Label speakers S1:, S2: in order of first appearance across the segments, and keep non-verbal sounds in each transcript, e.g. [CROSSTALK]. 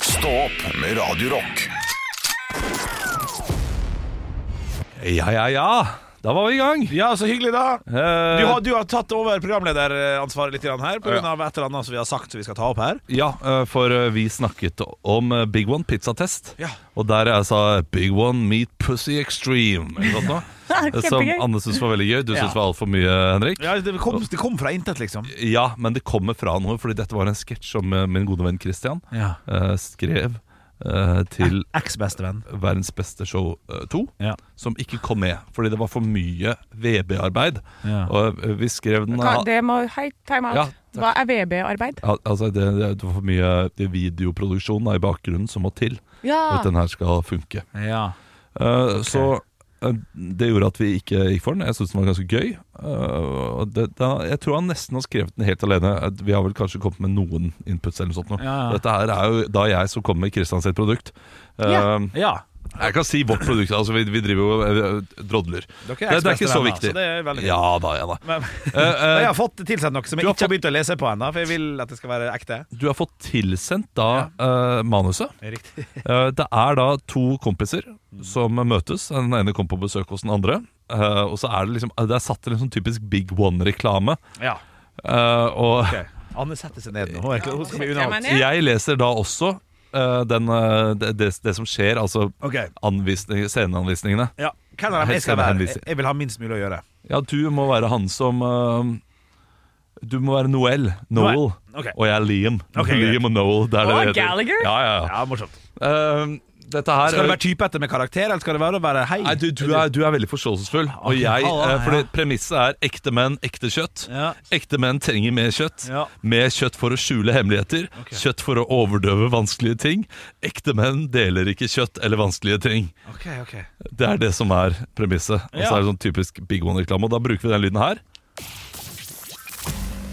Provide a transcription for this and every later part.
S1: Stå opp med Radio Rock.
S2: Ja, ja, ja. Da var vi i gang.
S3: Ja, så hyggelig, da.
S2: Eh,
S3: Du har, du har tatt over programlederansvaret litt grann her pga.
S2: Ja.
S3: et eller annet som vi har sagt vi skal ta opp her.
S2: Ja, eh, for eh, vi snakket om eh, Big One pizzatest.
S3: Ja.
S2: Og der jeg sa 'Big One meet Pussy Extreme'. Eller noe
S3: [LAUGHS]
S2: sånt, da.
S4: Kjempegøy.
S2: Eh, Som Anne syntes var veldig gøy. Du
S3: Ja.
S2: syntes var altfor mye, Henrik.
S3: Ja, Det kom, det kom fra intet, liksom.
S2: Ja, men det kommer fra noe, fordi dette var en sketsj som eh, min gode venn Christian
S3: Ja.
S2: eh, skrev eh, til
S3: Eks-bestevenn.
S2: Verdens beste show 2,
S3: Ja.
S2: som ikke kom med fordi det var for mye VB-arbeid.
S3: Ja.
S2: Og eh, vi skrev den
S4: Ka- Det må, hei, time out.
S2: Ja, takk.
S4: Hva er VB-arbeid?
S2: Al altså det, det er for mye det er videoproduksjon da, i bakgrunnen som må til for
S4: Ah.
S2: at den her skal funke.
S3: Ja.
S2: Eh, Så eh, det gjorde at vi ikke gikk for den. Jeg syntes den var ganske gøy. Eh, og det, da, jeg tror han nesten har skrevet den helt alene. Eh, Vi har vel kanskje kommet med noen inputs eller noe sånt. nå.
S3: Ja, ja.
S2: Dette her er jo da jeg som kommer med Kristian sitt produkt. Eh,
S4: Ja.
S3: ja.
S2: Jeg kan si vårt produkt. Altså vi, vi driver jo eh, drodler. Det,
S3: Dere
S2: det er ikke så
S3: eks-bestevenner,
S2: viktig.
S3: Så det er veldig
S2: ja da, ja da.
S3: Men,
S2: [LAUGHS] Eh, eh,
S3: jeg har fått tilsendt noe som jeg
S2: du har
S3: ikke har begynt å lese på ennå, for jeg vil at det skal være ekte.
S2: du har fått tilsendt da eh, manuset.
S3: Riktig.
S2: Eh, Det er da to kompiser som møtes. Den ene kom på besøk hos den andre. Eh, og så er det liksom Det er satt til en sånn typisk Big One-reklame.
S3: [LAUGHS] Ja.
S2: Eh, og
S3: ok Anne setter seg ned nå. Hun, er, ikke- hun skal bli
S4: Setter jeg meg
S3: underholdt.
S4: ned?
S2: [LAUGHS] jeg leser da også eh, den, eh, det, det, det som skjer, altså
S3: Ok.
S2: anvisning, sceneanvisningene.
S3: Ja. Hvem av dem jeg skal være? Jeg- Jeg vil ha minst mulig å gjøre.
S2: Ja, du må være han som eh, Du må være Noel. Noel.
S3: Ok.
S2: Og jeg er Liam.
S3: Ok, greit.
S2: Liam og Noel. Det er det
S4: Og
S2: det heter.
S4: Gallagher?
S2: Ja, ja, ja.
S3: Ja, morsomt.
S2: Eh, dette her
S3: Skal det være type etter med karakter, eller skal det være å være hei?
S2: Nei, du, du, er, du er veldig forståelsesfull. Og
S3: Ok,
S2: jeg,
S3: ja, ja.
S2: eh, fordi Premisset er ekte menn, ekte kjøtt.
S3: Ja.
S2: Ekte menn trenger mer kjøtt.
S3: Ja.
S2: Mer kjøtt for å skjule hemmeligheter. Kjøtt for å overdøve vanskelige ting. Ekte menn deler ikke kjøtt eller vanskelige ting.
S3: Ok, ok
S2: Det er det som er premisset. Og så
S3: Ja.
S2: er det sånn typisk Big One-reklame. Og da bruker vi den lyden her.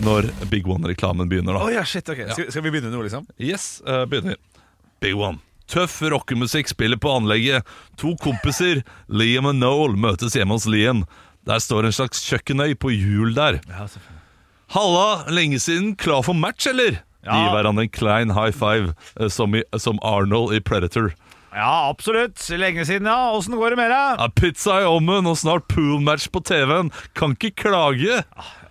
S2: Når Big One-reklamen begynner,
S3: Å
S2: da.
S3: ja, shit, ok skal, skal vi begynne nå, liksom?
S2: Yes, eh, begynner. Big One. Tøff rockemusikk spiller på anlegget. To kompiser, Liam og Noel, møtes hjemme hos Liam. Der står en slags kjøkkenøy på hjul der.
S3: Ja, selvfølgelig
S2: Halla, lenge siden. Klar for match, eller? De
S3: Ja.
S2: gir hverandre en klein high five, eh, som, i, som Arnold i Predator.
S3: Ja, absolutt. Lenge siden, ja. Åssen går det med deg?
S2: Ja, pizza i ovnen og snart poolmatch på TV-en. Kan ikke klage.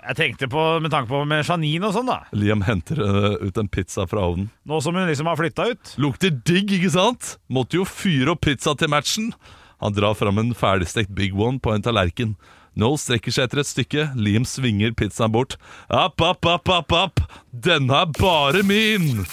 S3: Jeg tenkte på, med tanke på med Janine og sånn, da.
S2: Liam henter eh, ut en pizza fra ovnen.
S3: Nå som hun liksom har flytta ut.
S2: Lukter digg, ikke sant? Måtte jo fyre opp pizza til matchen. Han drar fram en ferdigstekt Big One på en tallerken. Noel strekker seg etter et stykke, Liam svinger pizzaen bort. App, app, app, app, app! Denne er bare min!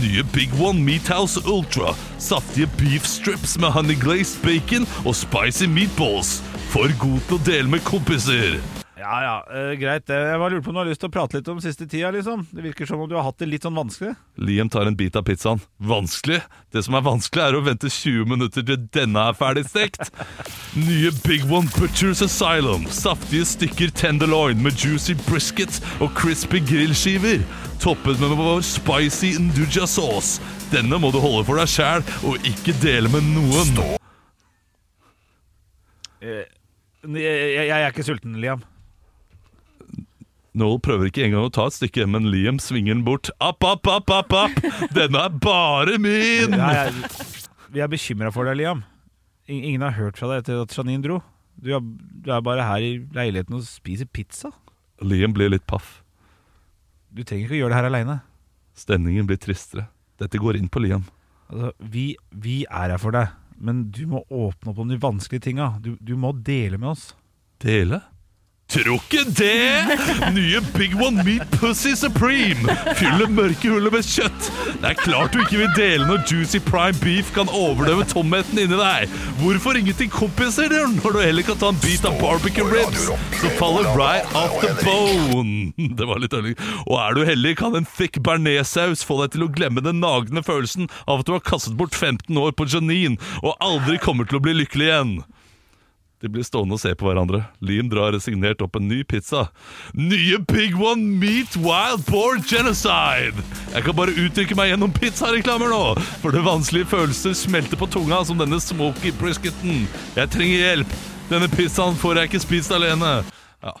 S2: Nye Big One Meathouse Ultra. Saftige beef strips med honey glazed bacon og spicy meatballs. For god til å dele med kompiser.
S3: Ja ja, eh, greit. det. Jeg bare lurte på om du har lyst til å prate litt om siste tida, liksom. Det virker som om du har hatt det litt sånn vanskelig.
S2: Liam tar en bit av pizzaen. Vanskelig? Det som er vanskelig, er å vente 20 minutter til denne er ferdig stekt. Nye Big One Butchers Asylum. Saftige stykker tenderloin med juicy brisket og crispy grillskiver. Toppet med vår spicy nduja sauce. Denne må du holde for deg sjæl og ikke dele med noen.
S3: Eh, Jeg, jeg, jeg er ikke sulten, [LAUGHS] Liam.
S2: Noel prøver ikke engang å ta et stykke, men Liam svinger den bort. App, app, app, app, app! Denne er bare min!
S3: Ja, jeg, vi er bekymra for deg, Liam. In- Ingen har hørt fra deg etter at Janine dro. Du er, du er bare her i leiligheten og spiser pizza.
S2: Liam blir litt paff.
S3: Du trenger ikke å gjøre det her aleine.
S2: Stemningen blir tristere. Dette går inn på Liam.
S3: Altså, vi, vi er her for deg, men du må åpne opp om de vanskelige tinga. Du, du må dele med oss.
S2: Dele? Tror ikke det! Nye Big One Meat Pussy Supreme fyller mørke hullet med kjøtt. Det er klart du ikke vil dele når juicy prime beef kan overdøve tomheten inni deg. Hvorfor ringe til kompiser når du heller kan ta en bit av barbecue ribs som faller right off the bone? Det var litt ærlig. Og er du heldig, kan en thick bearnéssaus få deg til å glemme den nagende følelsen av at du har kastet bort 15 år på Janine og aldri kommer til å bli lykkelig igjen. De blir stående og se på hverandre. Liam drar resignert opp en ny pizza. Nye Big One Meat Wild Boar Genocide! Jeg kan bare uttrykke meg gjennom pizzareklamer nå, for det vanskelige følelser smelter på tunga som denne smoky brisketen. Jeg trenger hjelp. Denne pizzaen får jeg ikke spist alene. Ja,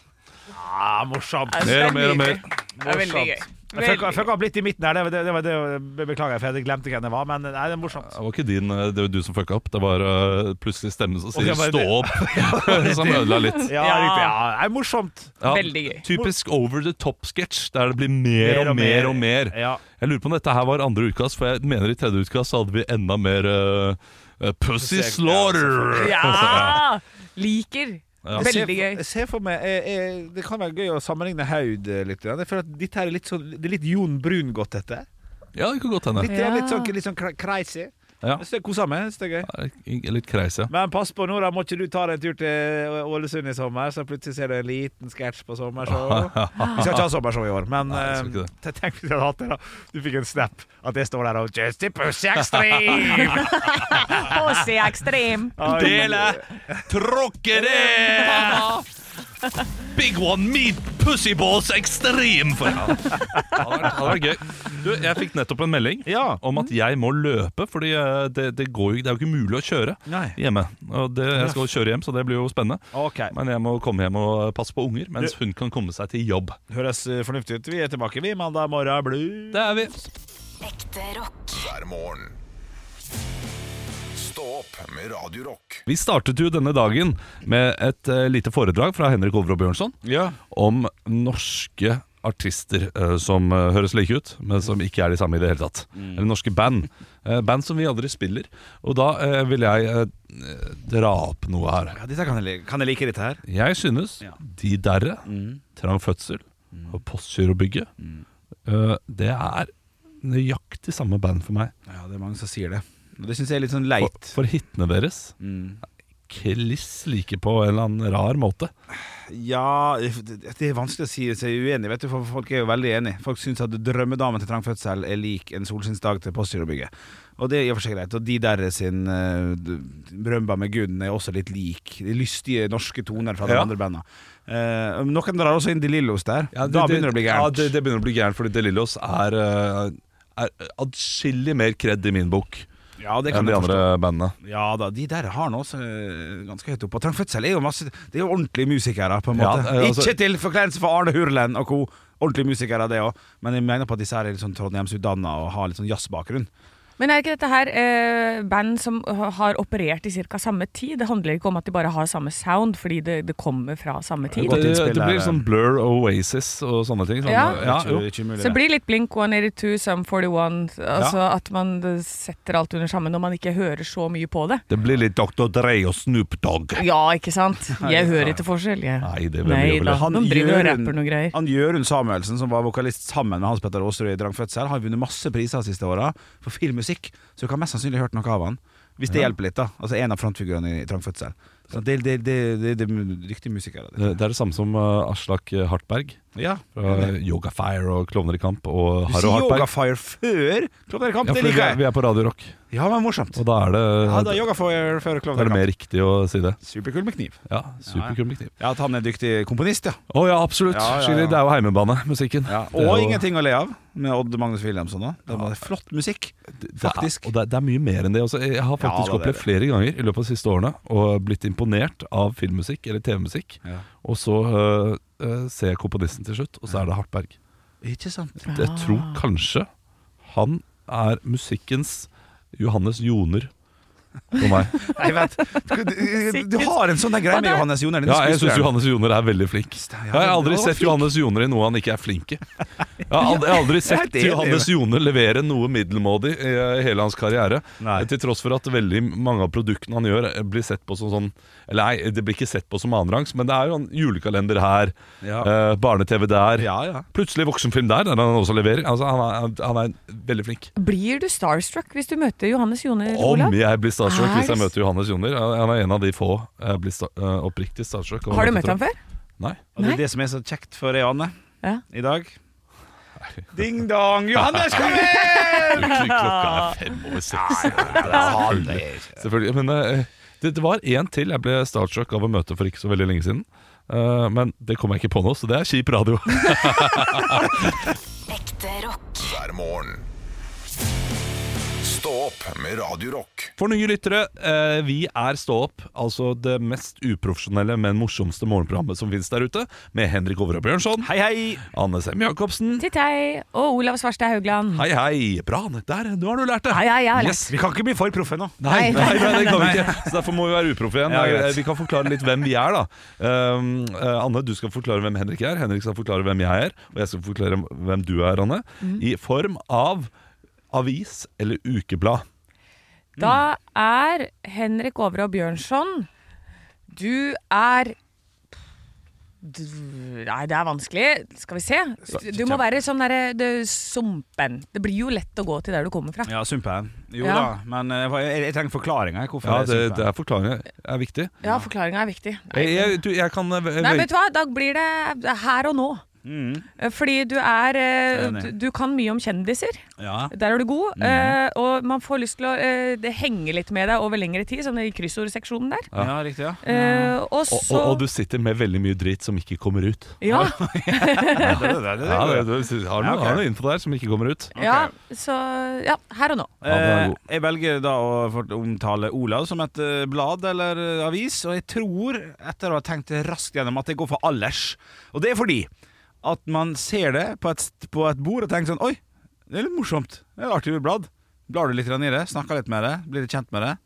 S3: Ah, morsomt.
S4: Altså,
S2: Mer
S4: det er
S2: og mer og
S4: nydelig. Det er veldig gøy.
S3: Jeg fucka- fucka opp litt i midten her, det, var- det, det, var- det, var- beklager, for jeg glemte hvem det var. Men nei, det er morsomt.
S2: Det var ikke din, eh, det var du som fucka opp. Det var eh, plutselig stemmen som sier
S3: Ok, bare
S2: 'stå
S3: det.
S2: opp', [LAUGHS] som ødela litt.
S3: Ja,
S4: Ja.
S3: riktig. Ja, det er morsomt.
S2: Ja,
S4: Veldig gøy.
S2: Typisk over the top-sketsj, der det blir mer, og mer og mer.
S3: Ja.
S2: Jeg lurer på om dette her var andre utkast, for jeg mener i tredje utkast så hadde vi enda mer eh, eh, Pussy Slaughter!
S4: Ja! Liker.
S2: Ja.
S3: Jeg ser
S4: Veldig
S3: for-
S4: gøy.
S3: Jeg ser for meg jeg, jeg, Det kan være gøy å sammenligne Haud eh, litt. grann. Jeg føler at dette her er litt sånn Det er litt Jon Brungot, dette.
S2: Ja, det kan godt hende.
S3: Litt, grann,
S4: Ja.
S3: litt sånn, litt sånn cra- crazy.
S2: Ja.
S3: Jeg synes det er kosa meg. Jeg synes det er gøy.
S2: Litt kreis, ja.
S3: Men pass på nå, da må ikke du ta deg en tur til Å- Ålesund i sommer, så plutselig ser du en liten sketsj på sommershow. Vi skal ikke ha sommershow i år, men
S2: Nei, vi skal ikke
S3: eh, [LAUGHS] tenk hvis jeg hadde hatt det, da. Du fikk en snap at jeg står der og Just a pussy
S2: [LAUGHS]
S3: extreme!
S4: HC Ekstrem.
S2: Dele! Tråkkere! Big one meat pussyballs extreme! For [LAUGHS] ja. hadde, vært, hadde vært gøy. Du, jeg fikk nettopp en melding
S3: Ja.
S2: om at jeg må løpe, fordi eh, det, det, går jo, det er jo ikke mulig å kjøre
S3: Nei.
S2: hjemme. Og det, jeg skal jo kjøre hjem, så det blir jo spennende.
S3: OK.
S2: Men jeg må komme hjem og passe på unger, mens hun kan komme seg til jobb.
S3: Høres eh, fornuftig ut. Vi er tilbake, vi. Mandag morgen blue.
S2: Det er vi.
S5: Ekte rock.
S1: hver morgen. Stå opp med Radio Rock.
S2: Vi startet jo denne dagen med et eh, lite foredrag fra Henrik Overå Bjørnson
S3: Ja.
S2: om norske artister eh, som eh, høres like ut, men som ikke er de samme i det hele tatt. Eller norske band. Eh, band som vi aldri spiller. Og da eh, vil jeg eh, dra opp noe her.
S3: Ja, dette kan jeg, like. kan jeg like dette her?
S2: Jeg synes de derre, Trang fødsel og Postgirobygget, eh, det er nøyaktig samme band for meg.
S3: Ja, det er mange som sier det. Og det syns jeg er litt sånn
S2: For,
S3: leit.
S2: for hitene deres
S3: Mm.
S2: kliss like på en eller annen rar måte.
S3: Ja, det det er vanskelig å si seg uenig, vet du, for folk er jo veldig enige. Folk syns at drømmedamen til Trang Fødsel er lik en solskinnsdag til Postgirobygget. Og det er i og for seg greit. Og de der sin uh, Brømba med Guden er også litt lik. De lystige norske toner fra de
S2: Ja.
S3: andre banda. Eh, noen drar også inn De Lillos der.
S2: Ja,
S3: da begynner det å bli
S2: Ja,
S3: gærent.
S2: det, det begynner å bli gærent, fordi De Lillos er, eh, er adskillig mer kred i min bok
S3: Ja, det
S2: enn de
S3: jeg forstå.
S2: andre bandene.
S3: Ja da, de der har han også eh, ganske høyt oppe. Og Trang Fødsel er jo masse Det er jo ordentlige musikere, på en
S2: Ja,
S3: måte.
S2: eh, altså-
S3: Ikke til forkleinelse for Arne Hurlen og co. Ordentlige musikere, det òg. Men jeg mener på at disse her er litt sånn Trondheimsutdanna og har litt sånn jazzbakgrunn.
S4: Men er ikke dette her eh, band som har operert i ca. samme tid? Det handler ikke om at de bare har samme sound, fordi det, det kommer fra samme tid.
S2: Det,
S3: Godt innspill
S2: det blir
S3: der.
S2: sånn Blur Oasis og sånne ting. Sånn,
S4: Ja.
S2: jo.
S3: ikke, ikke mulig,
S4: Så det
S3: det.
S4: blir litt Blink 182, Sum 41. Altså At man eh, setter alt under sammen når man ikke hører så mye på det.
S2: Det blir litt Dr. Dre og Snoop Dogg.
S4: Ja, ikke sant? Jeg hører ikke forskjell, jeg.
S2: Nei, det er veldig
S4: Nei da,
S2: jævlig.
S3: Han
S4: han driver og
S3: Jørund-
S4: rapper noe greier.
S3: Han Jørund Samuelsen, som var vokalist sammen med Hans Petter Aasrud i Drang Fødsel, har vunnet masse priser de siste åra for filmmusikk, så du kan mest sannsynlig ha hørt noe av han. Hvis det hjelper litt, da. Altså en av frontfigurene i Drang Fødsel. Så det, det, det, det, det er dyktige musikere.
S2: Det
S3: dette.
S2: det er det samme som eh, Aslak Hartberg
S3: Ja.
S2: fra Yoga Fire og Klovner i kamp og
S3: Du
S2: Harro
S3: sier
S2: Hartberg.
S3: Yoga Fire før Klovnerekamp,
S2: Ja, fordi
S3: det
S2: vi,
S3: liker
S2: er,
S3: jeg.
S2: vi er på Radio Rock,
S3: Ja, men morsomt.
S2: og da er det,
S3: Ja, da Yoga Fire før
S2: da er det
S3: Klovnerekamp.
S2: mer riktig å si det.
S3: Superkul med kniv.
S2: Ja, Superkul med kniv.
S3: Ja, at han er en dyktig komponist, ja.
S2: Å ja, absolutt.
S3: Ja, ja, ja.
S2: Skikkelig, Det er jo heimebane, musikken. Det er
S3: Og
S2: jo-
S3: ingenting å le av, med Odd Magnus Williamson òg. Det var flott musikk, faktisk.
S2: Det er, og det er, det er mye mer enn det. Også. Jeg har faktisk
S3: Ja, det er
S2: opplevd
S3: det.
S2: flere ganger i løpet av de siste årene og blitt imponert av filmmusikk eller TV-musikk.
S3: Ja.
S2: Og så øh, øh, ser jeg komponisten til slutt, og så er det Hartberg.
S3: Ikke sant?
S2: Jeg tror kanskje han er musikkens Johannes Joner for meg.
S3: Nei, vent. Du, du har en sånn der greie med Johannes Joner. den
S2: Ja, jeg syns
S3: skuespilleren.
S2: Johannes Joner er veldig flink.
S3: Ja,
S2: Jeg har aldri
S3: han var
S2: sett
S3: flink.
S2: Johannes Joner i noe han ikke er flink
S3: [LAUGHS]
S2: i. Jeg har aldri, jeg har aldri
S3: helt
S2: sett
S3: enig.
S2: Johannes Joner levere noe middelmådig i eh, hele hans karriere. eh,
S3: Nei.
S2: Til tross for at veldig mange av produktene han gjør, eh, blir sett på som sånn Eller nei, det blir ikke sett på som annenrangs, men det er jo en julekalender her,
S3: Ja.
S2: eh, barne-TV der.
S3: Ja, ja.
S2: Plutselig voksenfilm der, der han også leverer. Altså, han, er, han er veldig flink.
S4: Blir du starstruck hvis du møter Johannes Joner,
S2: Om
S4: Eh, Olav?
S2: jeg blir starstruck hvis jeg
S4: Er-
S2: møter Johannes Joner. Han er en av de få jeg blir sta eh, oppriktig starstruck. av å
S4: Har du
S2: møte,
S4: møtt
S2: tror
S4: ham før?
S2: jeg. Nei.
S3: Og det er det som er så kjekt for deg, Anne,
S4: Ja.
S3: i
S2: [LAUGHS]
S3: dag. Ding-dong! Johannes, kom inn!
S2: Klokka [LAUGHS] er fem over seks. Selvfølgelig. Men eh, det, det var én til jeg ble starstruck av å møte for ikke så veldig lenge siden. Eh, men det kom jeg ikke på nå, så det er kjip radio. [LAUGHS]
S5: Ekte rock.
S1: hver morgen. Stå opp med Radio Rock.
S2: For nye lyttere, eh, vi er Stå opp, altså det mest uprofesjonelle, men morsomste morgenprogrammet som finnes der ute, med Henrik Over og Bjørnson,
S3: Hei, hei!
S2: Anne Sem Jacobsen
S4: Titt hei, og Olav Svarstad Haugland.
S2: Hei, hei! Bra, Anne. Der, nå har du lært det!
S4: Ja, ja, ja,
S2: yes.
S3: Vi kan ikke bli for proffe nå.
S2: Nei,
S4: Nei.
S2: nei, nei, det kan vi ikke. Så derfor må vi være uproffe igjen.
S3: Ja, greit.
S2: Eh, vi kan forklare litt hvem vi er, da. Um, eh, Anne, du skal forklare hvem Henrik er. Henrik skal forklare hvem jeg er. Og jeg skal forklare hvem du er, Anne.
S4: Mhm.
S2: I form av avis eller ukeblad.
S4: Da er Henrik Over og Bjørnson Du er du, Nei, det er vanskelig. Skal vi se. Du må være sånn derre det- sumpen. Det blir jo lett å gå til der du kommer fra.
S3: Ja, Sumpen. Jo
S4: Ja.
S3: da, men eh, jeg, jeg trenger forklaringer. Hvorfor
S2: Ja,
S3: er
S2: det,
S3: Sumpen.
S2: det er forklaringen. er viktig.
S4: Ja, forklaringa er viktig.
S2: Jeg, jeg, du, jeg kan eh,
S4: Nei,
S2: vel-
S4: vet du hva? Da blir det her og nå.
S3: Mm.
S4: Eh, Fordi du er eh,
S3: Enig.
S4: du, du kan mye om kjendiser.
S3: ja.
S4: Der er du god. eh, Og man får lyst til å eh, det henge litt med deg over lengre tid, som i kryssordseksjonen der.
S3: ja, riktig, ja.
S4: Eh, og
S2: og,
S4: så
S2: og, og du sitter med veldig mye dritt som ikke kommer ut.
S4: ja,
S3: Ja,
S2: [LAUGHS]
S3: det, det, det, det,
S2: Ja,
S3: det,
S2: det, du har, noe,
S3: Ja, ok.
S2: har noe info der som ikke kommer ut.
S4: ja, så ja, her og nå.
S2: Ja, den er
S3: Eh,
S2: god.
S3: jeg velger da å fort- omtale Olav som et eh, blad eller eh, avis, og jeg tror, etter å ha tenkt raskt gjennom, at jeg går for alders. Og det er fordi at man ser det på et, st- på et bord og tenker sånn Oi, det er litt morsomt. Det er et artig blad. Blar du litt grann i det, snakker litt med det, blir litt kjent med det.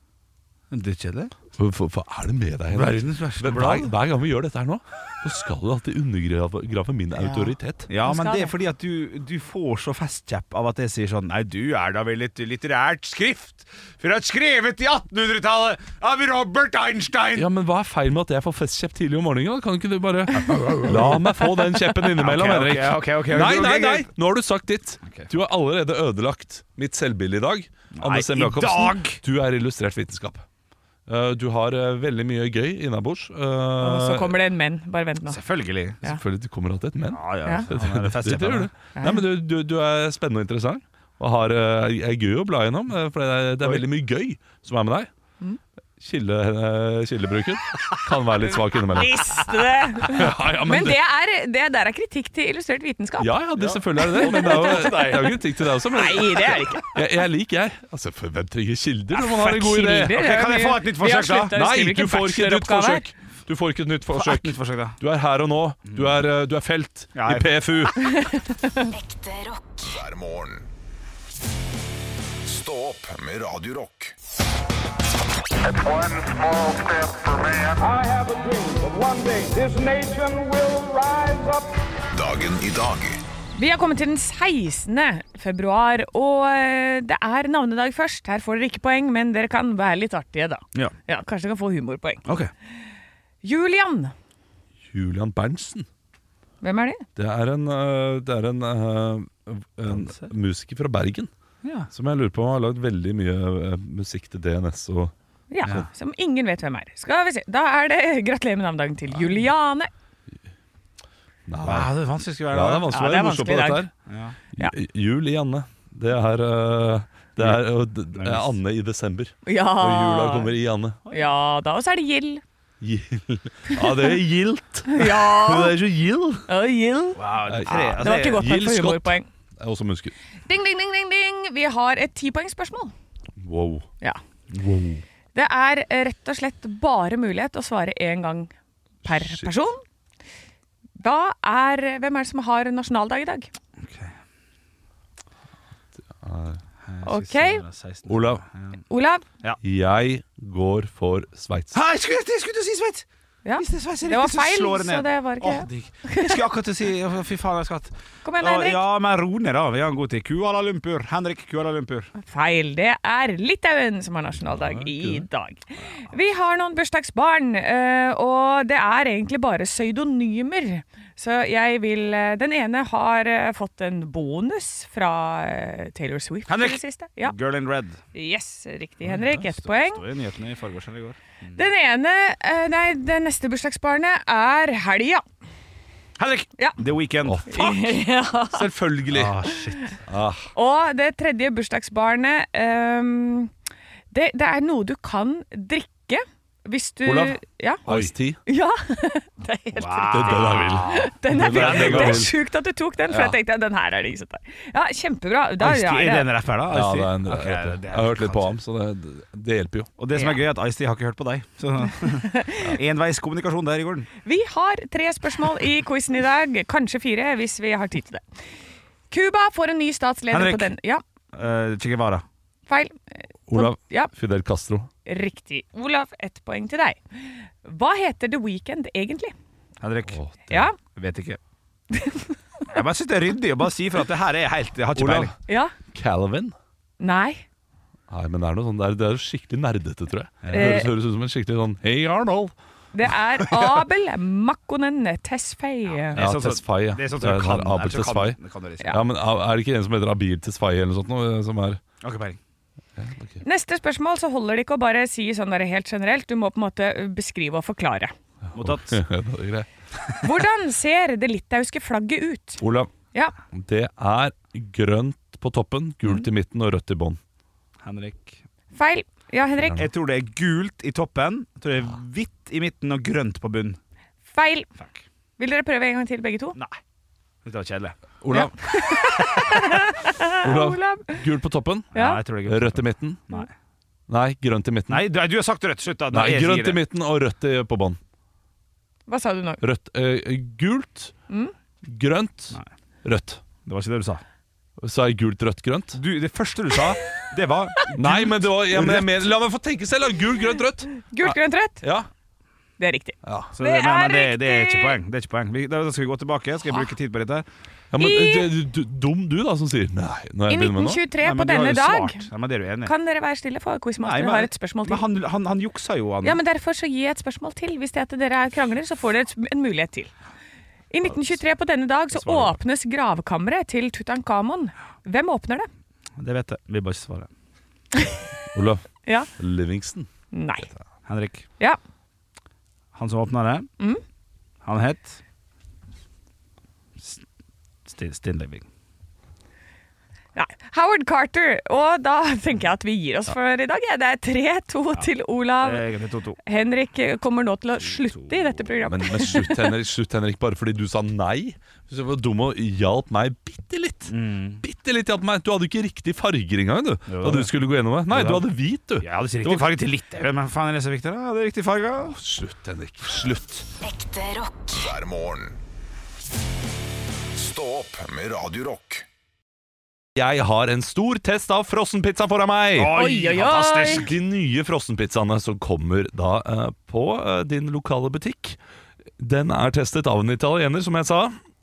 S3: Drittkjedelig.
S2: Hva hva er det med deg? Henrik?
S3: Verdens verste
S2: Men hver, hver gang vi gjør dette her nå, så skal du alltid undergrave grave min autoritet.
S3: Ja,
S4: Man
S3: men
S4: skal
S3: det er
S4: det.
S3: fordi at du, du får så festkjepp av at jeg sier sånn Nei, du er da vel et litterært skrift fra skrevet i 1800-tallet av Robert Einstein!
S2: Ja, men Hva er feil med at jeg får festkjepp tidlig om morgenen? da? Kan ikke du
S3: [LAUGHS]
S2: bare La meg få den kjeppen innimellom,
S3: Ok, ok,
S2: Henrik.
S3: ok, ok, ok,
S2: nei, nei,
S3: ok,
S2: nei!
S3: greit.
S2: Nå har du sagt ditt. Du har allerede ødelagt mitt selvbilde i dag. Anne Sem
S3: i
S2: Jacobsen,
S3: dag!
S2: du er illustrert vitenskap. Eh, Du har eh, veldig mye gøy innabords. Eh,
S4: Og så kommer det en menn. Bare vent
S3: [LAUGHS]
S4: nå.
S3: Selvfølgelig.
S4: Ja.
S2: Selvfølgelig du kommer alltid et men.
S3: Ja,
S4: Ja.
S3: ja. Han
S2: Det,
S3: er
S2: det,
S3: festkjeppen.
S2: gjør du. Nei, men du, du, du er spennende og interessant. Og har, eh, er gøy å bla gjennom, eh, for det er, det er
S3: Oi.
S2: veldig mye gøy som er med deg. Kilde, eh, kildebruken kan være litt svak
S4: [LAUGHS]
S2: innimellom.
S4: Visste det!
S2: Ja, ja,
S4: [LAUGHS] Men
S2: det-
S4: det er, det der er kritikk til illustrert vitenskap.
S2: ja, ja, det, selvfølgelig er det det. Men
S3: [LAUGHS]
S2: det er jo, det er jo kritikk til deg også. Men
S4: Nei, det er
S2: [LAUGHS]
S4: det ikke.
S2: jeg, jeg liker jeg. Altså, for hvem trenger kilder når man har en god idé?
S4: Kilder,
S3: Ok,
S4: ja,
S3: kan jeg
S4: vi-
S3: få et nytt
S4: vi har
S3: forsøk, da?
S4: sluttet å
S2: Nei,
S4: skrive
S2: du får ikke et nytt
S4: bacheloroppgave her.
S2: forsøk. Du får ikke et nytt
S3: Forsøk.
S2: forsøk.
S3: Nytt forsøk, da.
S2: Du er her og nå. Du er, eh, du er felt
S3: Ja,
S2: i
S3: jeg-
S2: PFU.
S5: Ekte rock.
S1: hver morgen. Stå opp med Radio Rock.
S6: One small step for man.
S7: I have a dream that one day this nation will rise up.
S1: Dagen i dag
S4: Vi har kommet til den 16. februar, og eh, det er navnedag først. Her får dere ikke poeng, men dere kan være litt artige, da.
S3: Ja.
S4: Ja, Kanskje dere kan få humorpoeng.
S3: Ok.
S4: Julian.
S2: Julian Berntsen.
S4: Hvem er det?
S2: Det er en, øh, det er en, øh, en musiker fra Bergen
S3: Ja.
S2: som jeg lurer på har lagd veldig mye øh, musikk til DNS og
S4: Ja, Som ingen vet hvem er. Skal vi se. Da er det [LAUGHS] gratulerer med navnedagen til Juliane.
S2: Nei,
S3: Wow, det er vanskelig å
S2: ja,
S3: skrive
S2: det er
S3: her. da.
S2: vanskelig å
S4: Ja,
S2: være
S4: det er
S2: morsom på
S4: vanskelig i
S2: dette
S4: dag.
S2: her.
S3: Ja.
S4: Ja.
S2: Ju- Jul i Anne. Det er, øh, det er øh, d- d- Anne i desember.
S4: Ja.
S2: Og jula kommer i Anne.
S4: Ja da. Og så er det Gild.
S2: Gild. Ja, det er gildt. Hun
S4: Ja.
S2: er så gild.
S4: Og Gild.
S3: Wow, det, er tre,
S2: Ja.
S4: Det var ikke godt nok
S2: Gild
S4: for
S2: Scott.
S4: humorpoeng.
S2: Jeg er også musiker.
S4: Ding, ding, ding, ding, ding. Vi har et tipoengsspørsmål.
S2: Wow.
S4: Ja. Det er eh, rett og slett bare mulighet å svare én gang per
S2: Shit.
S4: person. Da er eh, Hvem er det som har nasjonaldag i dag? Ok.
S2: Olav,
S4: Olav?
S2: jeg går for Sveits.
S3: Hei, jeg skulle, jeg skulle til å si Sveits!
S4: Ja.
S3: Hvis det er Sveits, er
S4: Det var
S3: riktig,
S4: feil,
S3: slår jeg ned.
S4: så det var ikke
S3: Åh, digg. Jeg skulle akkurat til å si å, Fy faen, jeg skatt.
S4: Kom igjen, Henrik.
S3: Ja, men ro ned, da. Vi har en god tid. Kuala Lumpur. Henrik Kuala Lumpur.
S4: Feil. Det er Litauen som har nasjonaldag i dag. Vi har noen bursdagsbarn, eh, og det er egentlig bare pseudonymer. Så jeg vil eh, Den ene har eh, fått en bonus fra eh, Taylor Swift. i
S3: Henrik!
S4: Det siste. Ja.
S3: Girl in red.
S4: Yes, riktig, Henrik. Ett
S3: Sto-
S4: poeng.
S3: Sto i nyhetene i forgårs eller i går.
S4: Den ene eh, Nei, det neste bursdagsbarnet er helga.
S3: Henrik!
S4: Ja.
S3: The Weekend.
S2: Å, fuck!
S4: [LAUGHS]
S2: Selvfølgelig.
S3: Ah, shit.
S4: Og det tredje bursdagsbarnet ehm, det, det er noe du kan drikke Hvis du
S2: Olav?
S4: Ja.
S2: Ice-T.
S4: [LAUGHS] ja. det er helt riktig.
S2: Det er den jeg vil.
S4: Den er,
S2: Den er
S4: det
S2: gammel.
S4: er sjukt at du tok den, for jeg tenkte at den her er det ingen som tar. Ja, kjempebra. Da,
S3: Ice-T, er det
S4: er det.
S3: en rapper, da?
S2: Ja,
S3: Ice-T?
S2: det er en
S3: Ok, det- det
S2: Jeg har hørt litt på ham, så det, det hjelper jo.
S3: Og det som er gøy, er at Ice-T har ikke hørt på deg. Så [LAUGHS]
S4: [LAUGHS]
S3: enveiskommunikasjon der i gården.
S4: Vi har tre spørsmål i quizen i dag, kanskje fire hvis vi har tid til det. Cuba får en ny statsleder
S3: Henrik.
S4: på den Ja,
S3: Uh, che Guevara.
S4: feil.
S2: Olav
S4: Ja,
S2: Fidel Castro.
S4: riktig. Olav, ett poeng til deg. Hva heter The Weekend egentlig?
S3: Henrik.
S2: Åh,
S4: Ja,
S3: Vet ikke. Jeg bare syns det er ryddig å bare si fra at det her er helt Jeg har ikke
S2: Olav
S3: peiling.
S4: ja,
S2: Calvin?
S4: nei.
S2: Nei, men det er noe sånn der, det er jo skikkelig nerdete, tror jeg. Det
S4: Eh.
S2: høres, høres ut som en skikkelig sånn Hey Arnold!
S4: Det er Abel Makkonen Tesfay.
S2: Ja,
S3: sånn som-
S2: Tesfaye, ja.
S3: Det er
S2: Det
S3: sånn som du
S2: er
S3: kan.
S2: Abel
S3: ellers så kan-
S2: Tesfaye.
S3: det kan du liksom.
S4: Ja.
S2: Ja, men Er det ikke en som heter Abil Tesfaye eller noe sånt? Noe, som er [LAUGHS]
S3: Har ikke peiling.
S4: Neste spørsmål så holder det ikke å bare si sånn der helt generelt. Du må på en måte beskrive og forklare.
S3: Mottatt.
S2: Ja, det er greit.
S4: Hvordan ser det litauiske flagget ut?
S2: Olav,
S4: Ja,
S2: det er grønt på toppen, gult i midten og rødt i bånn.
S3: Henrik.
S4: feil. Ja, Henrik.
S3: Jeg tror det er gult i toppen, jeg tror det er hvitt i midten og grønt på bunn.
S4: Feil.
S3: Fuck.
S4: Vil dere prøve en gang til, begge to?
S3: Nei. Dette var kjedelig.
S2: Olav. [LAUGHS] Olav.
S4: Olav.
S2: Gult på toppen,
S3: Ja.
S4: Ja.
S3: jeg tror det er gult.
S2: rødt i midten.
S3: Nei.
S2: Nei, grønt i midten.
S3: Nei, du, du har sagt rødt. Slutt, da. Nå
S2: Nei,
S3: er jeg
S2: grønt
S3: fire.
S2: i midten og rødt i, på bånn.
S4: Hva sa du nå?
S2: Rødt eh, Gult, grønt,
S3: Nei.
S2: rødt.
S3: Det var ikke det du sa.
S2: Sa jeg gult, rødt, grønt?
S3: Du, det første du sa, det var
S2: Nei, men det var ja, men jeg mener, La meg få tenke selv, da! Gul, grønt, rødt.
S4: Gult, grønt, rødt.
S2: Ja.
S4: Det er riktig.
S3: Så
S4: Det
S3: nei, men
S4: er
S3: det, det er
S4: riktig! Ah.
S3: ikke poeng. Det er ikke poeng. Vi, da skal vi gå tilbake. Skal jeg bruke tid på dette?
S2: ja men
S4: I-
S2: eh, du- du- Dum du, da, som sier nei når
S4: I
S2: jeg begynner med nå.
S4: 1923
S3: Nei, men
S4: på
S3: du har
S4: denne
S3: jo
S4: dag
S3: svart. Nei, men det er du enig i.
S4: Kan dere være stille, for
S3: Nei,
S4: quizmasteren
S3: men-
S4: har et spørsmål
S3: Men
S4: til.
S3: han, han, han juksa jo, han.
S4: Ja, men Derfor så gir jeg et spørsmål til. Hvis det er at dere er krangler, så får dere et- en mulighet til. I 1923 på denne dag så åpnes gravkammeret til Tutankhamon. Hvem åpner det?
S3: Det vet jeg. Vil bare ikke svare.
S2: Olav
S4: Ja.
S2: Livingston.
S4: Nei.
S3: Henrik.
S4: Ja.
S3: Han som åpna det,
S4: Mm.
S3: han het St- St- Stilleving.
S4: Nei. Howard Carter. Og da tenker jeg at vi gir oss for i dag. Ja, det er 3-2 til
S3: Det
S4: Olav.
S3: er egentlig 2-2.
S4: Henrik kommer nå til å slutte i dette
S2: Men,
S4: programmet.
S2: men slutt, Henrik, slutt, Henrik, bare fordi du sa nei. Så var dum og hjalp meg bitte litt. Bitte litt hjalp meg. Du hadde ikke riktig farger engang, du.
S3: Mm. Jo da.
S2: Da du skulle gå gjennom det. Nei,
S3: Jo
S2: du
S3: da.
S2: hadde hvit, du.
S3: Jeg hadde ikke riktig farge til litt, men hva faen er det så viktig? da? Jeg hadde riktig farge.
S2: Slutt, Henrik. Slutt.
S5: Ekte rock.
S1: hver morgen. Stå opp med Radio Rock.
S2: Jeg har en stor test av frossenpizza foran meg.
S4: Oi, oi, oi.
S3: fantastisk.
S2: De nye frossenpizzaene som kommer da eh, på eh, din lokale butikk, den er testet av en italiener, som jeg sa.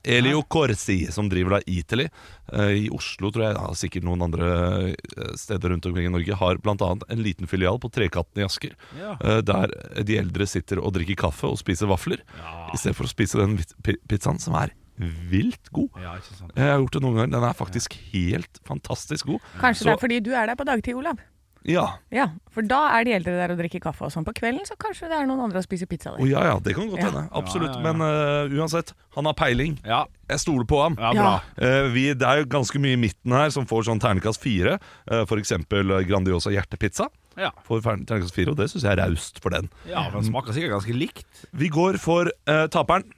S2: Elio Corsi, som driver da Italy eh, i Oslo, tror jeg, ja, sikkert noen andre eh, steder rundt omkring i Norge, har bl.a. en liten filial på Trekatten i Asker,
S3: Ja.
S2: eh, der de eldre sitter og drikker kaffe og spiser vafler, i stedet for å spise den vit- pi- pizzaen som er vilt god.
S3: Ja, ikke sant.
S2: Jeg har gjort det noen ganger. Den er faktisk helt fantastisk god.
S4: Kanskje
S2: Så-
S4: det er fordi du er der på dagtid, Olav.
S2: Ja.
S4: Ja, For da er de eldre der og drikker kaffe og sånn. På kvelden så kanskje det er noen andre og spiser pizza der.
S2: Å, ja, ja, det kan godt
S4: Ja.
S2: hende. Absolutt.
S3: Ja, ja, ja.
S2: Men eh, uansett, han har peiling.
S3: Ja,
S2: Jeg stoler på ham.
S3: ja bra.
S2: Eh, vi, det er jo ganske mye i midten her som får sånn ternekast fire. Eh, for eksempel eh, Grandiosa hjertepizza
S3: Ja.
S2: får fer- ternekast fire, og det syns jeg er raust for den.
S3: ja, for Den smaker sikkert ganske likt.
S2: Vi går for eh, taperen.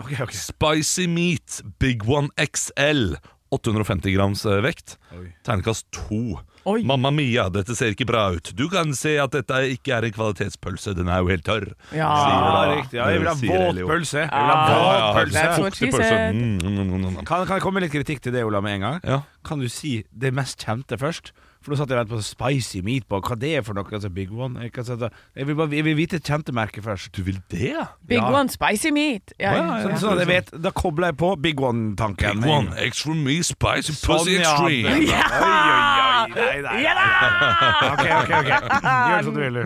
S3: Ok, ok
S2: Spicy meat Big One XL. 850 grams eh, vekt.
S3: Oi.
S2: Ternekast to.
S4: Oi.
S2: Mamma mia, dette ser ikke bra ut. Du kan se at dette ikke er en kvalitetspølse, den er jo helt tørr.
S4: Ja.
S3: Ja,
S2: da.
S3: riktig. Ja, jeg vil ha
S2: Sier
S3: våt
S2: Elio.
S3: pølse. Jeg vil
S2: Ja,
S3: ha
S2: ja,
S3: våt pølse.
S4: That's what she
S2: Fuktig pølse.
S4: said.
S2: Mm, mm, mm, mm.
S3: Kan, kan jeg komme med litt kritikk til det, Ola, med en gang?
S2: Ja.
S3: Kan du si det mest kjente først? For nå satt jeg og ventet på spicy meatball. Hva det er for noe? Altså Big one? Jeg, kan sette, jeg, vil, bare, jeg vil vite et kjente merke først.
S2: Du vil det, ja?
S4: Big
S3: Ja.
S4: one, spicy meat.
S2: Ja,
S4: Ja,
S2: ja,
S3: Sånn,
S2: ja.
S3: sånn at jeg vet, da kobler jeg på Big One-tanken.
S2: Big one, extra me, spicy pussy
S3: Sånn, ja.
S2: extreme.
S3: Ja! Oi, oi, oi. Nei, nei.
S4: Ah! Ja da!
S3: Ok, ok, ok. Gjør som du vil, du.